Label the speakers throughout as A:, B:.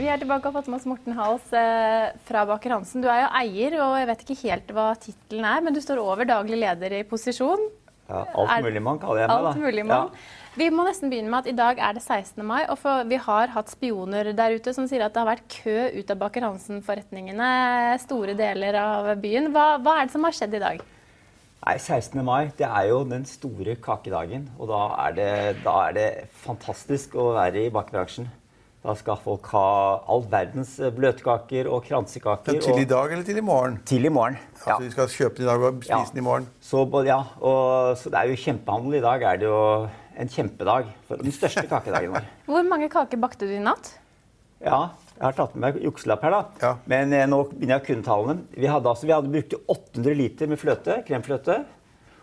A: Vi er tilbake og har fått med oss Morten Hals eh, fra Baker Hansen. Du er jo eier, og jeg vet ikke helt hva tittelen er, men du står over daglig leder i posisjon.
B: Ja, alt
A: Er-
B: mulig man kaller jeg meg, da.
A: Alt mulig mann. Vi må nesten begynne med at i dag er det 16. mai, og for, vi har hatt spioner der ute som sier at det har vært kø ut av Baker Hansen-forretningene store deler av byen. Hva, hva er det som har skjedd i dag?
B: Nei, 16. mai det er jo den store kakedagen. Og da er det, da er det fantastisk å være i bakebransjen. Da skal folk ha all verdens eh, bløtkaker og kransekaker.
C: Ja, til
B: og-
C: i dag eller til i morgen?
B: Til i morgen.
C: Ja. Så vi skal kjøpe den i dag og spise
B: Ja.
C: den i morgen.
B: Så, både- ja, og, så det er jo kjempehandel. I dag er det jo en kjempedag. For den største kakedagen vår.
A: Hvor mange kaker bakte du i natt?
B: Ja, jeg har tatt med meg jukselapp her, da.
C: Ja.
B: Men eh, nå begynner jeg å kunne tallene. Vi hadde, altså, vi hadde brukt 800 liter med fløte, kremfløte.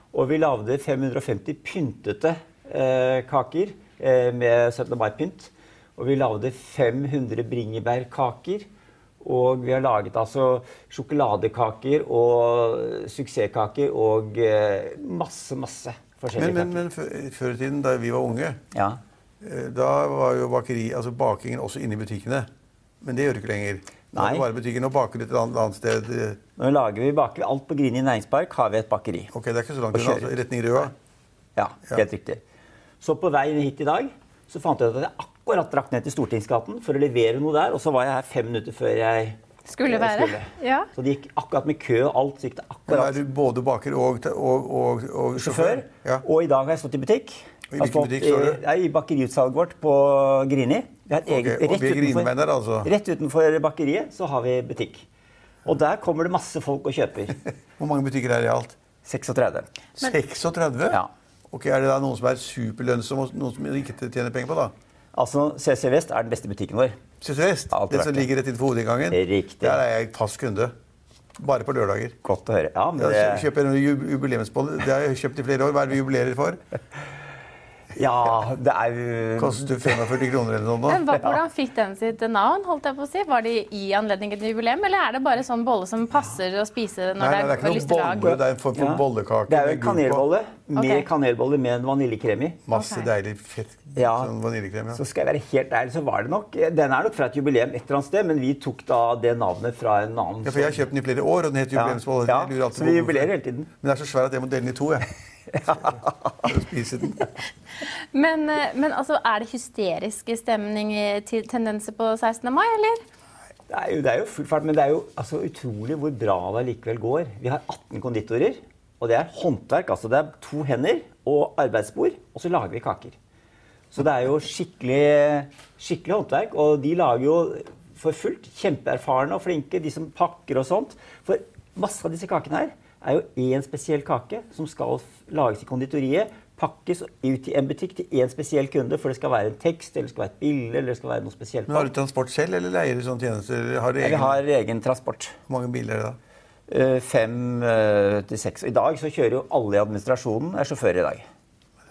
B: Og vi lagde 550 pyntete eh, kaker eh, med 17. mai-pynt. Og vi lagde 500 bringebærkaker. Og vi har laget altså sjokoladekaker og suksesskaker og eh, masse, masse
C: Men,
B: forskjellige
C: men,
B: kaker.
C: men fø- før i tiden, da vi var unge,
B: Ja.
C: eh, da var jo bakeri, altså bakingen også inne i butikkene. Men det gjør du ikke lenger. Nå er
B: Nei.
C: det bare butikken og baker et annet, annet sted. eh,
B: Nå lager vi baker alt på Grini næringspark, har vi et bakeri.
C: Ok, det er ikke så langt
B: Og
C: unna.
B: kjører.
C: Altså, i retning Røa.
B: Ja, helt riktig. Så på vei hit i dag så fant jeg ut at jeg akkurat drakk ned til Stortingsgaten for å levere noe der, og så var jeg her fem minutter før jeg
A: Skulle
B: eh,
A: være. Ja.
B: Så det gikk akkurat med kø og alt. Så gikk det
C: Men er
B: akkurat
C: du både baker og, og, og, og
B: sjåfør.
C: sjåfør? Ja.
B: Og i dag har jeg stått i butikk.
C: I
B: Jeg har
C: hvilken
B: stått
C: butikk står
B: i-
C: du?
B: nei, I bakeriutsalget vårt på Grini. Vi har et
C: Ok,
B: eget,
C: og
B: rett,
C: ved
B: utenfor,
C: Griniveien der, altså?
B: rett utenfor bakeriet så har vi butikk. Og der kommer det masse folk og kjøper.
C: Hvor mange butikker er det i alt?
B: 36.
C: 36?
B: Ja.
C: Ok, Er det da noen som er superlønnsomme, og noen som ikke tjener penger på, da?
B: Altså, CC Vest er den beste butikken vår.
C: Sydvest?
B: Alt
C: Den som
B: riktig.
C: ligger rett innenfor hodeinngangen?
B: Riktig.
C: Der er jeg fast kunde. Bare på lørdager.
B: Godt å høre. Ja, men
C: Jeg
B: det...
C: kjøper en jub- jubileumsbolle. Det har jeg kjøpt i flere år. Hva er det vi jubilerer for?
B: Ja, det er jo
C: Koster 45 kroner eller noe
A: Men
C: sånt?
A: hva, hvordan fikk den sitt navn? holdt jeg på å si? Var det i anledning til jubileum, eller er det bare sånn bolle som passer å spise når
C: Nei, nei, det er
A: det
C: ikke
A: er
C: noen
A: lystelag?
C: bolle. Det er en form for
B: Ja.
C: bollekake.
B: Det er jo
C: med
B: en
C: gull på.
B: kanelbolle med
A: Ok.
B: kanelbolle med en vaniljekrem i.
C: Masse
A: Ok.
C: deilig fett
B: Ja.
C: sånn vaniljekrem.
B: Så
C: Ja.
B: skal jeg være helt ærlig, så var det nok Den er nok fra et jubileum et eller annet sted, men vi tok da det navnet fra en annen.
C: Ja, for Jeg har kjøpt den i flere år, og den heter
B: Ja.
C: jubileumsbolle.
B: Ja,
C: Jeg lurer alltid
B: så
C: på
B: vi
C: hvorfor.
B: jubilerer hele tiden.
C: Men den er så svær at jeg må dele den i to. jeg. For å spise den.
A: Men, eh, men altså, er det hysterisk stemning, eh, til- tendenser på 16. mai, eller?
B: Det er jo, det er jo full fart, men det er jo altså, utrolig hvor bra det likevel går. Vi har 18 konditorer, og det er håndverk. altså Det er to hender og arbeidsbord, og så lager vi kaker. Så det er jo skikkelig, skikkelig håndverk, og de lager jo for fullt. Kjempeerfarne og flinke, de som pakker og sånt. For masse av disse kakene her er jo én spesiell kake som skal f- lages i konditoriet, pakkes og ut i en butikk til én spesiell kunde, for det skal være en tekst, eller det skal være et bilde, eller det skal være noe spesielt.
C: Men Har du transport selv, eller leier du sånne tjenester? Har du
B: Ja, Vi
C: egen?
B: har egen transport.
C: Hvor mange biler er det da?
B: Eh, Fem eh, til seks. Og I dag så kjører jo alle i administrasjonen er sjåfører i dag.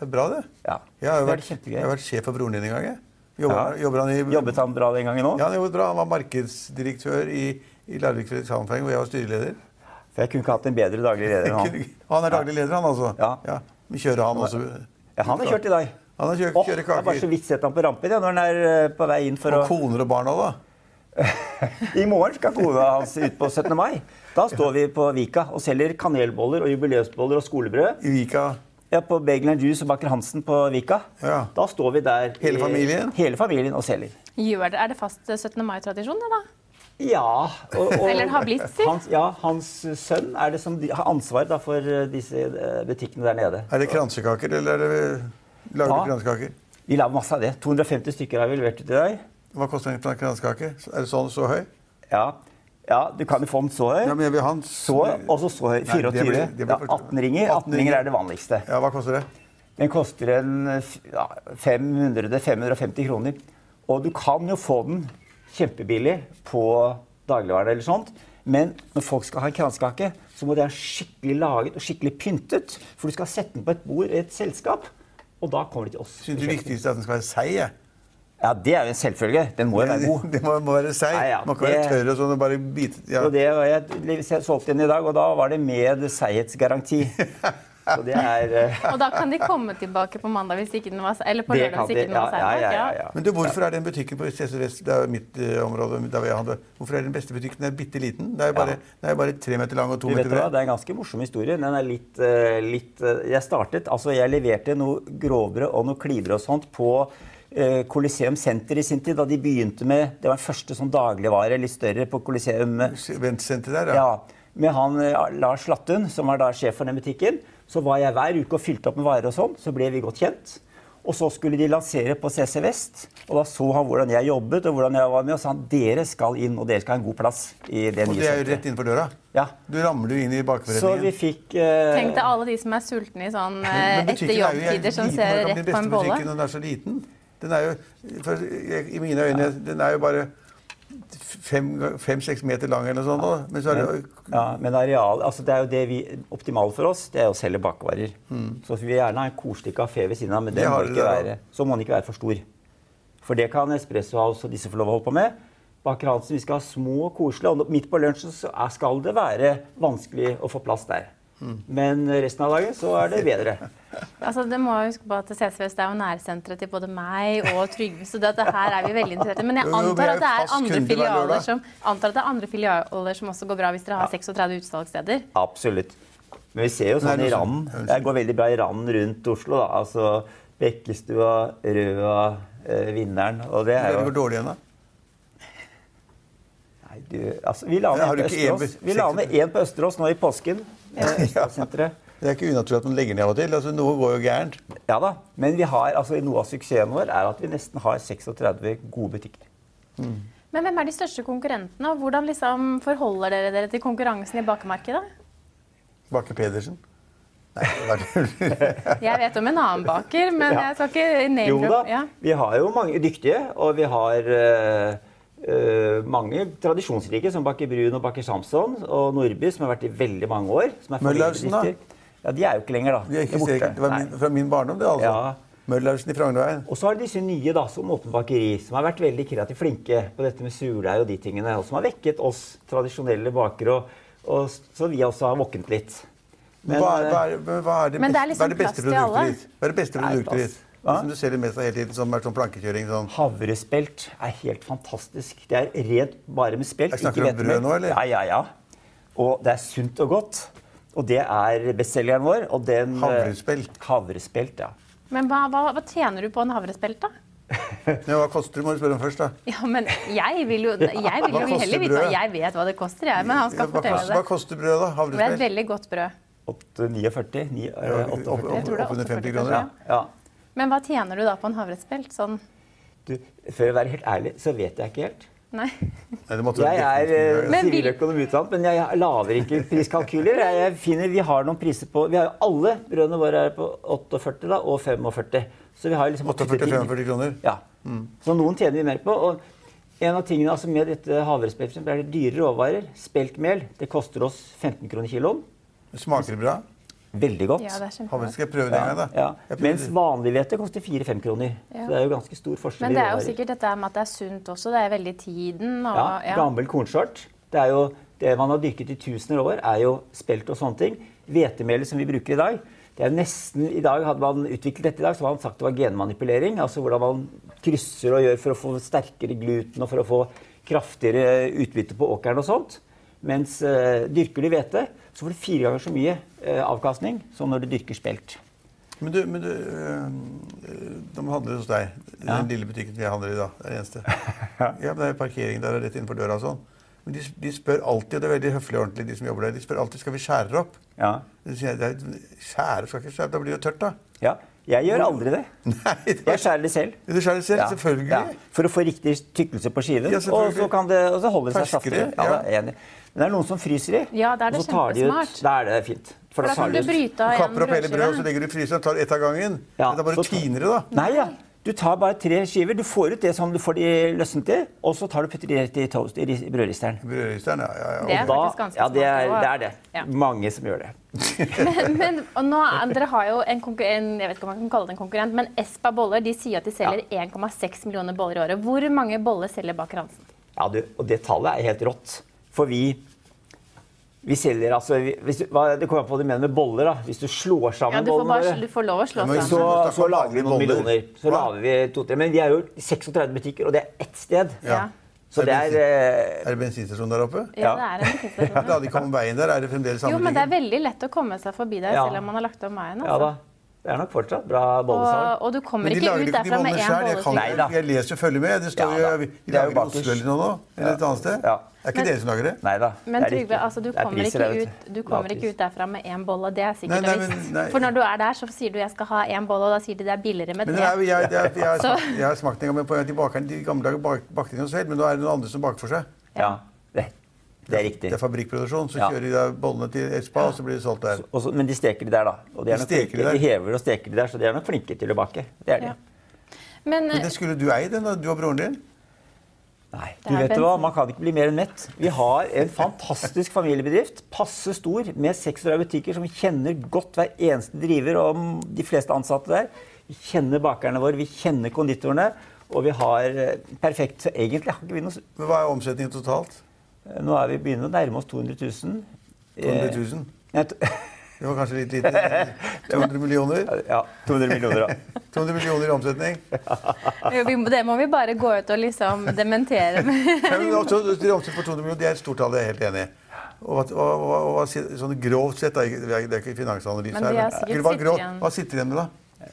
C: Det er bra, det.
B: Ja.
C: Jeg har, jo
B: Det er
C: vært,
B: kjempegøy.
C: jeg har vært sjef for broren din en gang. Jeg. Jobber,
B: Ja.
C: jobber han i,
B: Jobbet han bra den gangen
C: Ja,
B: òg?
C: han jobbet bra. Han var markedsdirektør i, i Larvik Fredrikshavnforening, hvor jeg var styreleder.
B: For jeg kunne ikke hatt en bedre daglig leder enn han.
C: Og han er daglig leder, han altså.
B: Ja.
C: Vi kjører han også.
B: Ja, han har kjørt i dag.
C: Han har kjørt,
B: Åh,
C: kjører
B: jeg har bare så
C: kaker.
B: vidt sett han på rampen ja, når han er eh, på vei inn for
C: Og
B: å
C: koner og barn òg, da.
B: I morgen skal kona hans ut på 17. mai. Da står vi på Vika og selger kanelboller og jubileumsboller og skolebrød.
C: I Vika.
B: Ja, På Bagel and Juice og Baker Hansen på Vika.
C: Ja.
B: Da står vi der i-
C: Hele familien?
B: hele familien og selger.
A: Gjør det, er det fast eh, 17. mai-tradisjon, det da?
B: Ja. Og, og,
A: Eller har blitt, si.
B: Hans, ja, hans sønn er det som de, har ansvar da, for eh, disse eh, butikkene der nede.
C: Er det kransekaker, eller er det, lager
B: Ja.
C: du kransekaker?
B: Vi lager masse av det. 250 stykker har vi levert ut i dag.
C: Hva koster en kransekake? Er det sånn så høy?
B: Ja. Ja, du kan jo få den så høy.
C: Ja, men jeg vil ha den
B: så, og så så høy.
C: Nei,
B: 24.
C: det blir- det blir
B: ja,
C: for-
B: 18 ringer. 18 ringer er det vanligste.
C: Ja, hva koster det?
B: Den koster en f- ja, 500-550 kroner. Og du kan jo få den kjempebillig på dagligvarer eller sånt. Men når folk skal ha en kransekake, så må det være skikkelig laget og skikkelig pyntet. For du skal sette den på et bord i et selskap, og da kommer de til oss.
C: Synes det viktigste er at den skal være seig, jeg.
B: Ja, det er jo en selvfølge. Den må jo være god.
C: Det må, må være seig.
B: Ja, ja,
C: Man kan være
B: det-
C: tørr og sånn og bare bite ja.
B: Og det, var jeg jeg solgte den i dag, og da var det med seighetsgaranti. Så det er eh,
A: Og da kan de komme tilbake på mandag hvis ikke den var se- Eller på
B: Det
A: lørdag
B: kan
A: hvis
B: de.
A: ikke den var
B: Ja, ja,
A: seier.
B: ja, ja, ja.
C: Men du, hvorfor er den butikken på Østre Vest, det er jo mitt eh, område, der hvor jeg handler, hvorfor er den beste butikken? Den er bitte liten. Det er jo bare, den er jo bare tre meter lang og to
B: Du vet
C: meter
B: hva,
C: bred.
B: Det er en ganske morsom historie. Den er litt, eh, litt eh, Jeg startet Altså, jeg leverte noe grovbrød og noe klibbrød og sånt på eh, Coliseum Senter i sin tid, da de begynte med Det var den første sånn dagligvare, litt større, på Coliseum. eh,
C: Ventsenter der, ja.
B: Ja, Med han eh, Lars Lattun, som var da sjef for den butikken, så var jeg hver uke og fylte opp med varer og sånn. Så ble vi godt kjent. Og så skulle de lansere på CC Vest, og da så han hvordan jeg jobbet. Og hvordan jeg var med, og sa han dere skal inn, og dere skal ha en god plass i det
C: Og
B: nye
C: det er jo
B: senteret.
C: rett innenfor døra.
B: Ja.
C: Du ramler jo inn i
B: Så vi
C: bakberedningen.
B: fikk eh,
A: Tenk deg alle de som er sultne i sånn eh,
C: Men
A: etter
C: butikken er jo jævlig
A: jobbtider som
C: liten.
A: ser
C: Hvordan
A: rett
C: kan den
A: på en
C: beste
A: bolle.
C: butikken når den er så liten? Den er jo, for, jeg, I mine øyne den er jo bare fem- fem-seks meter lang eller noe sånt. nå, Men så er det jo
B: ja, men areal, altså det er jo det vi, optimale for oss, det er jo å selge bakvarer. Så vi vil gjerne ha en koselig kafé ved siden av, men
C: Det
B: den må
C: Mm. har
B: ikke
C: dere da.
B: være, så må den ikke være for stor. For det kan Espresso House og disse få lov å holde på med. Baker Hansen, vi skal ha små og koselige, og midt på lunsjen så er, skal det være vanskelig å få plass der.
C: Mm.
B: Men resten av dagen så er det bedre.
A: Altså, det må jeg huske på at CC Vest er jo nærsenteret til både meg og Trygve, så det, det her er vi veldig interessert i. Men
C: Jo,
A: jeg
C: jo, vi
A: antar
C: er jo
A: at det
C: fast
A: er andre
C: kunde hver lørdag.
A: filialer som, antar at det er andre filialer som også går bra hvis dere har 36 utsalgssteder.
B: Absolutt. Men vi ser jo
C: Nei,
B: sånn i
C: nå skjønner-
B: randen.
C: Unnskyld.
B: Det går veldig bra i randen rundt Oslo. da. Altså Bekkestua, Røa, eh, Vinneren. Og det er
C: Det
B: jo
C: går dårlig igjen, da.
B: Nei, du, altså, vi la
C: Jeg har
B: ned
C: jo
B: på
C: ikke en
B: Østerås.
C: be-
B: Vi la ned én på Østerås nå i påsken. eh, Østeråssenteret.
C: Det er ikke unaturlig at man legger ned av og til. altså Noe går jo gærent.
B: Ja da. Men vi har, altså, noe av suksessen vår er at vi nesten har 36 gode butikker.
A: Men hvem er de største konkurrentene, og hvordan liksom forholder dere dere til konkurransen i bakemarkedet?
C: Bakke Pedersen. Nei, det var ikke-
A: Jeg vet om en annen baker, men
B: Ja.
A: jeg skal ikke name
B: Jo da,
A: drop- Ja.
B: vi har jo mange dyktige, og vi har eh, eh, mange tradisjonsrike som Bakker Brun og Bakker Samson og Nordby, som har vært i veldig mange år. Som er
C: Møllersen, da?
B: foreldredyktige. Ja, de er jo ikke lenger, da.
C: det, er ikke
B: er borte.
C: sikkert. det var
B: Nei.
C: min, fra min barndom, det, altså.
B: Ja.
C: Møllersen i Frognerveien.
B: Og så har de disse nye, da, som Åpen bakeri, som har vært veldig kreativt flinke på dette med surdeig og de tingene, og som har vekket oss tradisjonelle bakere, og, og s- så vi også har våknet litt. Men, eh,
C: hva, er, hva, er, men hva er det
A: Men det er
C: beste,
A: liksom
C: hva er det beste
A: plass til alle.
C: produktet ditt? Hva er det beste
B: Nei,
C: produktet
B: plass.
C: ditt?
B: Hva?
C: Det Som du selger mest av hele tiden, som er sånn plankekjøring? sånn.
B: Havrespelt er helt fantastisk. Det er rent bare med spelt.
C: Jeg snakker om
B: ikke
C: brød
B: hvetemel.
C: nå, eller?
B: Ja, ja, ja. Og det er sunt og godt. Og det er bestselgeren vår. Og den eh,
C: Havrespelt.
B: Havrespelt, ja.
A: Men hva, hva, hva tjener du på en havrespelt, da?
C: Men hva koster det, må du spørre om først. da.
A: Ja, men jeg vil jo, jeg vil
C: Hva
A: jo
C: koster
A: heller vite
C: brød?
A: Jeg vet hva det koster, jeg, men han skal
C: Ja, hva, koster,
A: fortelle
C: hva
A: det.
C: koster brød, da?
A: Det er et
C: Havrespelt?
A: veldig godt brød.
B: 8, 49, 9,
C: Ja, opp-
B: 8,
C: opp-
A: Jeg tror det er 48
B: eh, Ja,
C: 850 kroner. Ja.
A: kroner.
B: ja.
A: Men hva tjener du da på en havrespelt? Sånn
B: Du, for å være helt ærlig, så vet jeg ikke helt.
A: Nei.
C: Nei, det måtte
B: Jeg er eh,
C: men,
A: Men vil-
B: siviløkonom utdannet, men jeg lager ikke priskalkyler. Jeg, jeg finner, vi har noen priser på Vi har jo alle brødene våre er på 48 da, og 45. Så vi har liksom
C: 48-45 kroner.
B: Ja. Så noen tjener vi mer på. Og en av tingene altså med dette havrespektet er det dyre råvarer. Speltmel. Det koster oss 15 kroner kiloen.
C: Smaker det bra?
B: Veldig godt.
A: Ja, det er
C: Havrespelt
A: kjempegodt.
C: skal jeg prøve det en gang, da.
B: Ja.
C: Jeg prøver
B: Mens vanlig hvete koster 4-5 kroner.
A: Ja.
B: Så det er jo ganske stor forskjell
A: Men det er jo
B: råvarer.
A: sikkert dette med at det er sunt også. Det er veldig i tiden og
B: Ja,
A: ja.
B: gammel kornskjørt. Det er jo det man har dyrket i tusener av år, er jo spelt og sånne ting. Hvetemelet som vi bruker i dag, det er jo nesten i dag Hadde man utviklet dette i dag, så hadde man sagt det var genmanipulering. Altså hvordan man krysser og gjør for å få sterkere gluten og for å få kraftigere utbytte på åkeren og sånt. Mens eh, dyrker du hvete, så får du fire ganger så mye eh, avkastning som når du dyrker spelt.
C: Men du, men du øh, øh, de handler hos deg. Den lille butikken som jeg handler i da. Det er det eneste. ja, men det er parkering der og rett innenfor døra og sånn. Men de, de spør alltid, og det er veldig høflig og ordentlig, de som jobber der, de spør alltid skal vi skjære opp.
B: Ja.
C: Så sier jeg, det er- Skjære skal ikke skjære, da blir det jo tørt, da.
B: Ja. Jeg gjør aldri det.
C: Nei, det
B: Jeg skjærer det selv.
C: Du skjærer det selv,
B: Ja.
C: selvfølgelig.
B: Ja, For å få riktig tykkelse på skiven.
C: Ja,
B: og,
C: selvfølgelig.
B: så kan det, og så holder det seg saftig.
C: Ferskere,
B: Ja,
C: ja.
B: da er jeg enig. Men det er noen som fryser i,
A: Ja, da er det
B: og så tar de ut.
A: kjempesmart.
B: Da er det fint. For
A: For
B: da
A: da kan
B: tar
A: du
B: de ut.
A: bryte
C: Du
A: av
C: kapper opp hele brødet, og så
A: brødskiven.
C: legger du i fryseren og tar ett av gangen.
B: Ja,
C: Men da
B: så
C: bare
B: tar-
C: tiner det, da.
B: Nei, ja. Du tar bare tre skiver. Du får ut det som du får de løsnet i, og så tar du putter de rett i, toast, i ris- brødristeren.
C: Brødristeren, ja, ja, ja.
A: Det er
B: Da,
A: faktisk ganske
B: ja, det er
A: smart.
B: det. Er det.
A: Ja.
B: Mange som gjør det.
A: Men og nå, er- dere har jo en, konkur- en jeg vet ikke om man kan kalle det en konkurrent, men Espa boller de sier at de selger 1,6 millioner boller i året. Hvor mange boller selger Baker Hansen?
B: Ja, du, og det tallet er helt rått. For vi vi selger altså vi- hvis du, hva, Det kommer an på hva du mener med boller. da. Hvis du slår
A: Ja,
B: sammen
A: du får,
B: bollene
A: bare,
B: våre,
A: du får lov å slå
C: Ja, men
B: så,
C: så-
A: sammen.
B: så lager vi noen
C: Boller.
B: millioner. Så
C: Hva?
B: lager vi to-tre. Men vi er jo 36 butikker, og det er ett sted.
A: Ja.
B: Så det er eh,
C: Er det bensinstasjon der oppe?
A: Ja, det er en bensinstasjon.
C: Da hadde de kommet veien der. Er det fremdeles samme
A: Jo, men det er
C: butikken?
A: veldig lett å komme seg forbi der,
B: Ja.
A: selv om man har lagt om veien.
B: Ja da.
A: Altså. Det
B: Det er nok fortsatt bra
A: og,
B: bollesalg.
A: og du kommer
C: de
A: ikke
C: lager
A: ut
C: ikke de
A: derfra med
C: bollene
A: én
C: selv, Jeg, kan,
B: Nei
A: bolleskive.
B: da.
C: jeg leser og følger med. Det står
B: Ja
C: jo,
B: da.
C: vi,
B: Det er
C: vi
B: jo
C: lager det i
B: bakers.
C: Oslo eller noe nå. Eller et annet sted.
B: Ja.
C: Det er ikke dere som lager det?
B: Nei da.
A: Men
B: det er
A: Trygve,
B: riktig.
A: altså, du
B: Det er
A: kommer
B: priser
A: ikke
B: der, vet
A: ut, du kommer ikke
B: Lavpris.
A: ut derfra med én bolle, det er sikkert
C: Nei, nei,
A: og visst.
C: men- nei.
A: For når du er der, så sier du 'jeg skal ha én bolle', og da sier de det er billigere med
C: Men det er,
A: tre.
C: jo- jeg, jeg, jeg, jeg,
A: Så-
C: jeg har smakt en gang, men på de, bakerne, de gamle dager bak, bakte de oss selv, men nå er det noen andre som baker for seg.
B: Ja, det, det er riktig.
C: Det er fabrikkproduksjon. Så
B: Ja.
C: kjører de da bollene til Espa, og så blir det solgt der.
B: Og så- men de steker de der, da. Og de, er
C: De
B: nok
C: steker de
B: flinke, de
C: der.
B: hever og steker de der, så de er nok flinke til å bake. Det er de.
A: Ja. Men, eh,
C: Men det skulle du eid, den, da, du og broren din.
B: Nei,
A: Det
B: du
A: er
B: vet du hva,
A: bensin.
B: Man kan ikke bli mer enn mett. Vi har en fantastisk familiebedrift, passe stor, med 36 butikker som kjenner godt hver eneste driver og de fleste ansatte der. Vi kjenner bakerne våre, vi kjenner konditorene, og vi har eh, perfekt. Så egentlig har ikke vi noe s- eh,
C: Men hva er omsetningen totalt?
B: Nå er vi begynner å nærme oss 200 000.
C: 200 000?
B: Eh, jeg t-
C: Det var kanskje litt lite. 200 millioner?
B: Ja, 200 millioner, da.
C: 200 millioner i omsetning.
A: eh, vi, må- det må vi bare gå ut og liksom dementere med.
C: Ja, men også, de omsatt for 200 millioner, det er et stort tall, det er jeg helt enig i. Og, hva- og, og, og hva sier- sånn grovt sett, da, ikke- det er det er ikke finansanalyse
A: Men de
C: her,
A: har sikkert
C: hva,
A: sitter
C: grovt-
A: igjen.
C: hva sitter igjen med, da?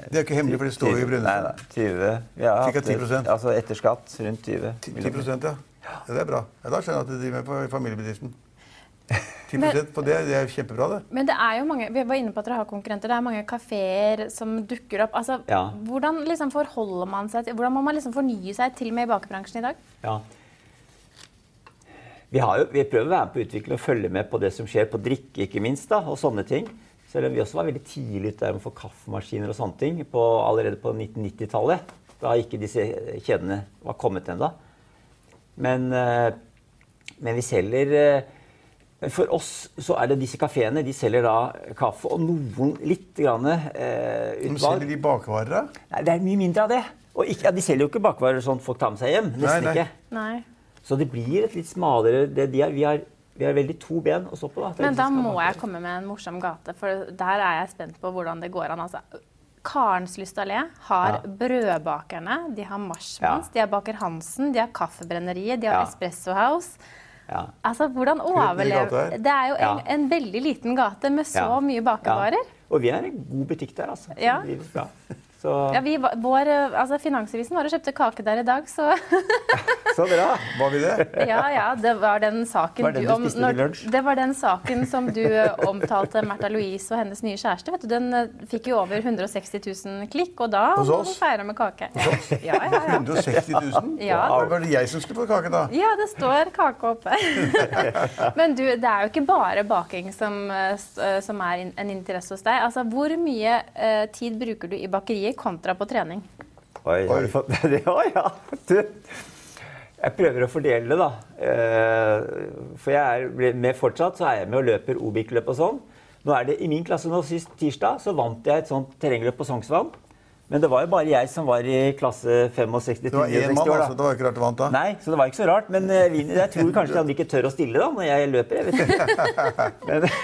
C: Det er jo ikke hemmelig, for det står jo i
B: Nei, nei,
C: Brønnøysund.
B: 20. Vi har
C: Cirka
B: hatt et-
C: 10%.
B: Altså etter skatt rundt 20.
C: 10
B: millioner.
C: ja. ja. Det er bra. Ja, da skjønner jeg at du driver med på- i familiebedriften. 10 på det, det er kjempebra, det.
A: Men det er jo mange, vi var inne på at dere har konkurrenter. Det er mange kafeer som dukker opp. Altså,
B: Ja.
A: Hvordan liksom forholder man seg til, hvordan må man liksom fornye seg til og med i bakebransjen i dag?
B: Ja. Vi, har jo, vi prøver å være med på utvikling og følge med på det som skjer på drikke, ikke minst, da, og sånne ting. Selv om vi også var veldig tidlig ute der med å få kaffemaskiner og sånne ting på, allerede på 1990-tallet. Da ikke disse kjedene var kommet ennå. Men, eh, men vi selger eh, men For oss så er det disse kafeene. De selger da kaffe og noen litt grann, eh,
C: Som
B: utvalg.
C: selger de bakvarer, da.
B: Nei, det er mye mindre av det. Og ikke, ja, de selger jo ikke bakvarer sånn folk tar med seg hjem. Nesten
C: nei.
B: ikke.
A: Nei.
B: Så det blir et litt smalere det de er. Vi har, vi har veldig to ben å stå på. Da. Det er liksom-
A: Men
B: det
A: da
B: som skal
A: må
B: være-
A: jeg komme med en morsom gate, for der er jeg spent på hvordan det går an. altså. Karens Lyst allé har
B: Ja.
A: brødbakerne, de har Marshmans,
B: Ja.
A: de har Baker Hansen, de har Kaffebrenneriet, de har
B: Ja.
A: Espresso House.
B: Ja.
A: Altså, hvordan
C: liten gate
A: overleve
C: her.
A: Det er jo en,
B: Ja.
A: en veldig liten gate med så
B: Ja.
A: mye bakervarer.
B: Ja. Og vi er en god butikk der, altså. som
A: Ja.
B: drives bra. Så,
A: Ja, vi, var- vår, eh, altså, Finansavisen var og kjøpte kake der i dag, så
B: så bra.
C: Var vi det?
A: ja, ja, det var den saken
B: Var det den du spiste til lunsj?
A: Det var den saken som du eh, omtalte Märtha Louise og hennes nye kjæreste. Vet du, den eh, fikk jo over 160 000 klikk, og da
C: Hos
A: må
C: oss?
A: du feire med kake. Ja, ja, ja.
C: 160 000?
A: Ja.
C: Da var det jeg som skulle få kake, da.
A: Ja, det står kake oppe. Men du, det er jo ikke bare baking som, eh, s- eh, som er in- en interesse hos deg. Altså, Hvor mye eh, tid bruker du i bakeriet kontra på trening?
B: Oi, har
C: Oi.
B: du fått med det? Å, ja. Du. Jeg prøver å fordele det, da. Eh, For jeg er med fortsatt, så er jeg med og løper Obik-løp og sånn. Nå er det I min klasse nå sist tirsdag så vant jeg et sånt terrengløp på Sognsvann. Men det var jo bare jeg som var i klasse 65
C: Det var én
B: 69 år,
C: mann,
B: da.
C: altså. Det var jo ikke rart du vant da.
B: Nei, så det var ikke så rart. Men eh, Vinny, jeg tror kanskje han ikke tør å stille da, når jeg løper. Jeg vet ikke.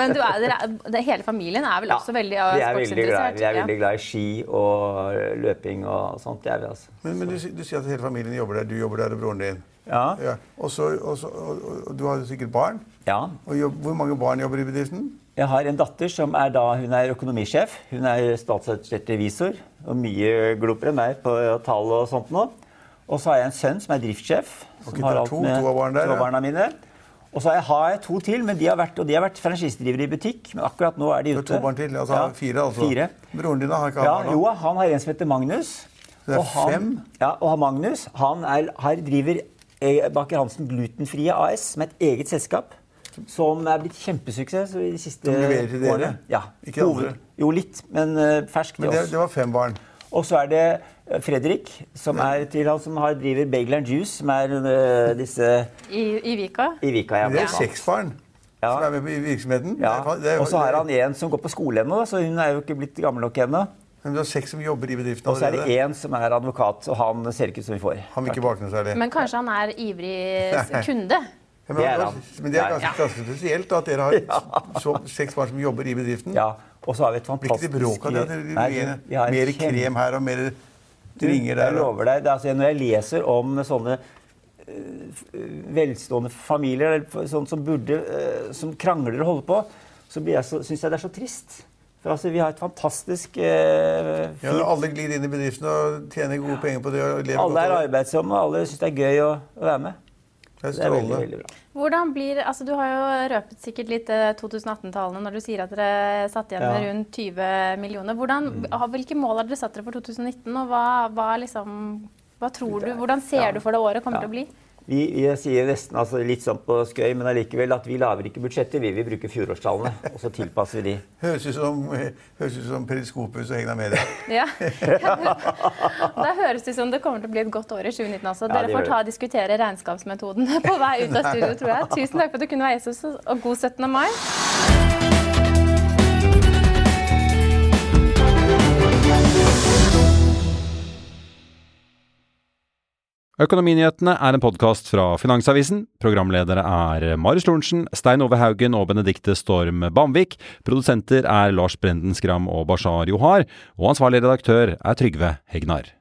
A: Men du er, dere er, det, Hele familien er vel også veldig eh,
B: vi er veldig glad,
A: sportsinteressert?
B: vi er
A: Ja.
B: veldig glad i ski og eh, løping og sånt. Det er vi, altså.
C: Men, men du, si- du sier at hele familien jobber der. Du jobber der, og broren din.
B: Ja.
C: Ja. Og, så, og, så, og, og, og du har jo sikkert barn.
B: ja.
C: Og jobb, hvor mange barn jobber i bedriften?
B: Jeg har en datter som er da hun er økonomisjef. Hun er statsautorisert revisor og mye glopere enn meg på tall og sånt nå. Og så har jeg en sønn som er driftssjef.
C: Ok,
B: som har
C: det er
B: alt
C: to-
B: med
C: to av barn der, ja.
B: barna mine. Og så har jeg, har jeg to til, men de har vært, og de har vært franchisedrivere i butikk. Men akkurat nå er de
C: Du
B: ute.
C: har to barn til? Altså
B: Ja,
C: fire, altså?
B: Fire.
C: Broren din da, har ikke
B: Ja,
C: hatt barn?
B: jo,
C: da?
B: han har en som heter Magnus.
C: Så det er
B: og han,
C: fem?
B: Ja, og han Magnus han er, her driver eh, Baker Hansen Glutenfrie AS, som er et eget selskap. Som er blitt kjempesuksess i de siste
C: Som leverer til dere?
B: årene. Ja.
C: Ikke andre?
B: Jo, litt, men eh, fersk til
C: Men det,
B: oss.
C: det var fem barn.
B: Og så er det eh, Fredrik, som er til han som har, driver Bagel and Juice, som er eh, disse
A: I, i Vika.
B: i Vika.
C: Men det er
B: blant annet.
C: seks barn
B: Ja.
C: som er med på i virksomheten.
B: Ja.
C: Det er fa- det er-
B: Og så har han en som går på skole ennå, så hun er jo ikke blitt gammel nok ennå.
C: Men du har seks som jobber i bedriften
B: Og så er
C: allerede.
B: det én som er advokat, og han ser ikke ut som vi får.
C: Han vil ikke bake noe særlig.
A: Men kanskje han er ivrig s- kunde?
C: Ja,
B: Det er
C: men,
B: han.
C: men det er
B: Ja.
C: ganske, ganske spesielt da, at dere har så, seks barn som jobber i bedriften.
B: Ja, og så har vi et
C: Blir ikke
B: fantastisk
C: det bråk av det? at dere-
B: Nei,
C: mer-
B: vi har en
C: Mer
B: kjempe-
C: krem her og mer
B: Du,
C: ringer
B: Jeg
C: der. og-
B: lover deg. Det er, altså, når jeg leser om sånne eh, f- velstående familier eller f- sånn som, burde, eh, som krangler og holder på, så blir jeg så- syns jeg det er så trist. For altså, vi har et fantastisk eh, fint
C: Ja, når alle glir inn i bedriften og tjener gode penger på det. og lever
B: Alle
C: godt
B: er
C: av det.
B: arbeidsomme, og alle syns det er gøy å, å være med.
C: Det er
B: Det er veldig,
C: strålende.
B: veldig bra.
A: Hvordan blir, altså Du har jo røpet sikkert litt eh, 2018-tallene når du sier at dere satt igjen med
B: Ja. Mm.
A: rundt 20 millioner. Hvordan, ha- Hvilke mål har dere satt dere for 2019, og hva, hva, liksom, hva tror du, hvordan ser
B: ja.
A: du for det året kommer
B: Ja.
A: til å bli?
B: Vi, vi sier nesten altså, litt sånn på skøy, men allikevel at vi lager ikke budsjetter. Vi vil bruke fjorårstallene, og så tilpasser vi de.
C: Høres ut som, høres ut som Periskopus og Egna Media.
A: Ja. da høres det ut som det kommer til å bli et godt år i 2019 også.
B: Ja,
A: Dere
B: det gjør
A: får ta
B: det.
A: og diskutere regnskapsmetoden på vei ut av studio, tror jeg. Tusen takk for at du kunne være gjest hos oss, og god 17. mai.
D: Økonominyhetene er en podkast fra Finansavisen. Programledere er Marius Lorentzen, Stein Ove Haugen og Benedikte Storm Bamvik. Produsenter er Lars Brenden Skram og Bashar Johar. Og ansvarlig redaktør er Trygve Hegnar.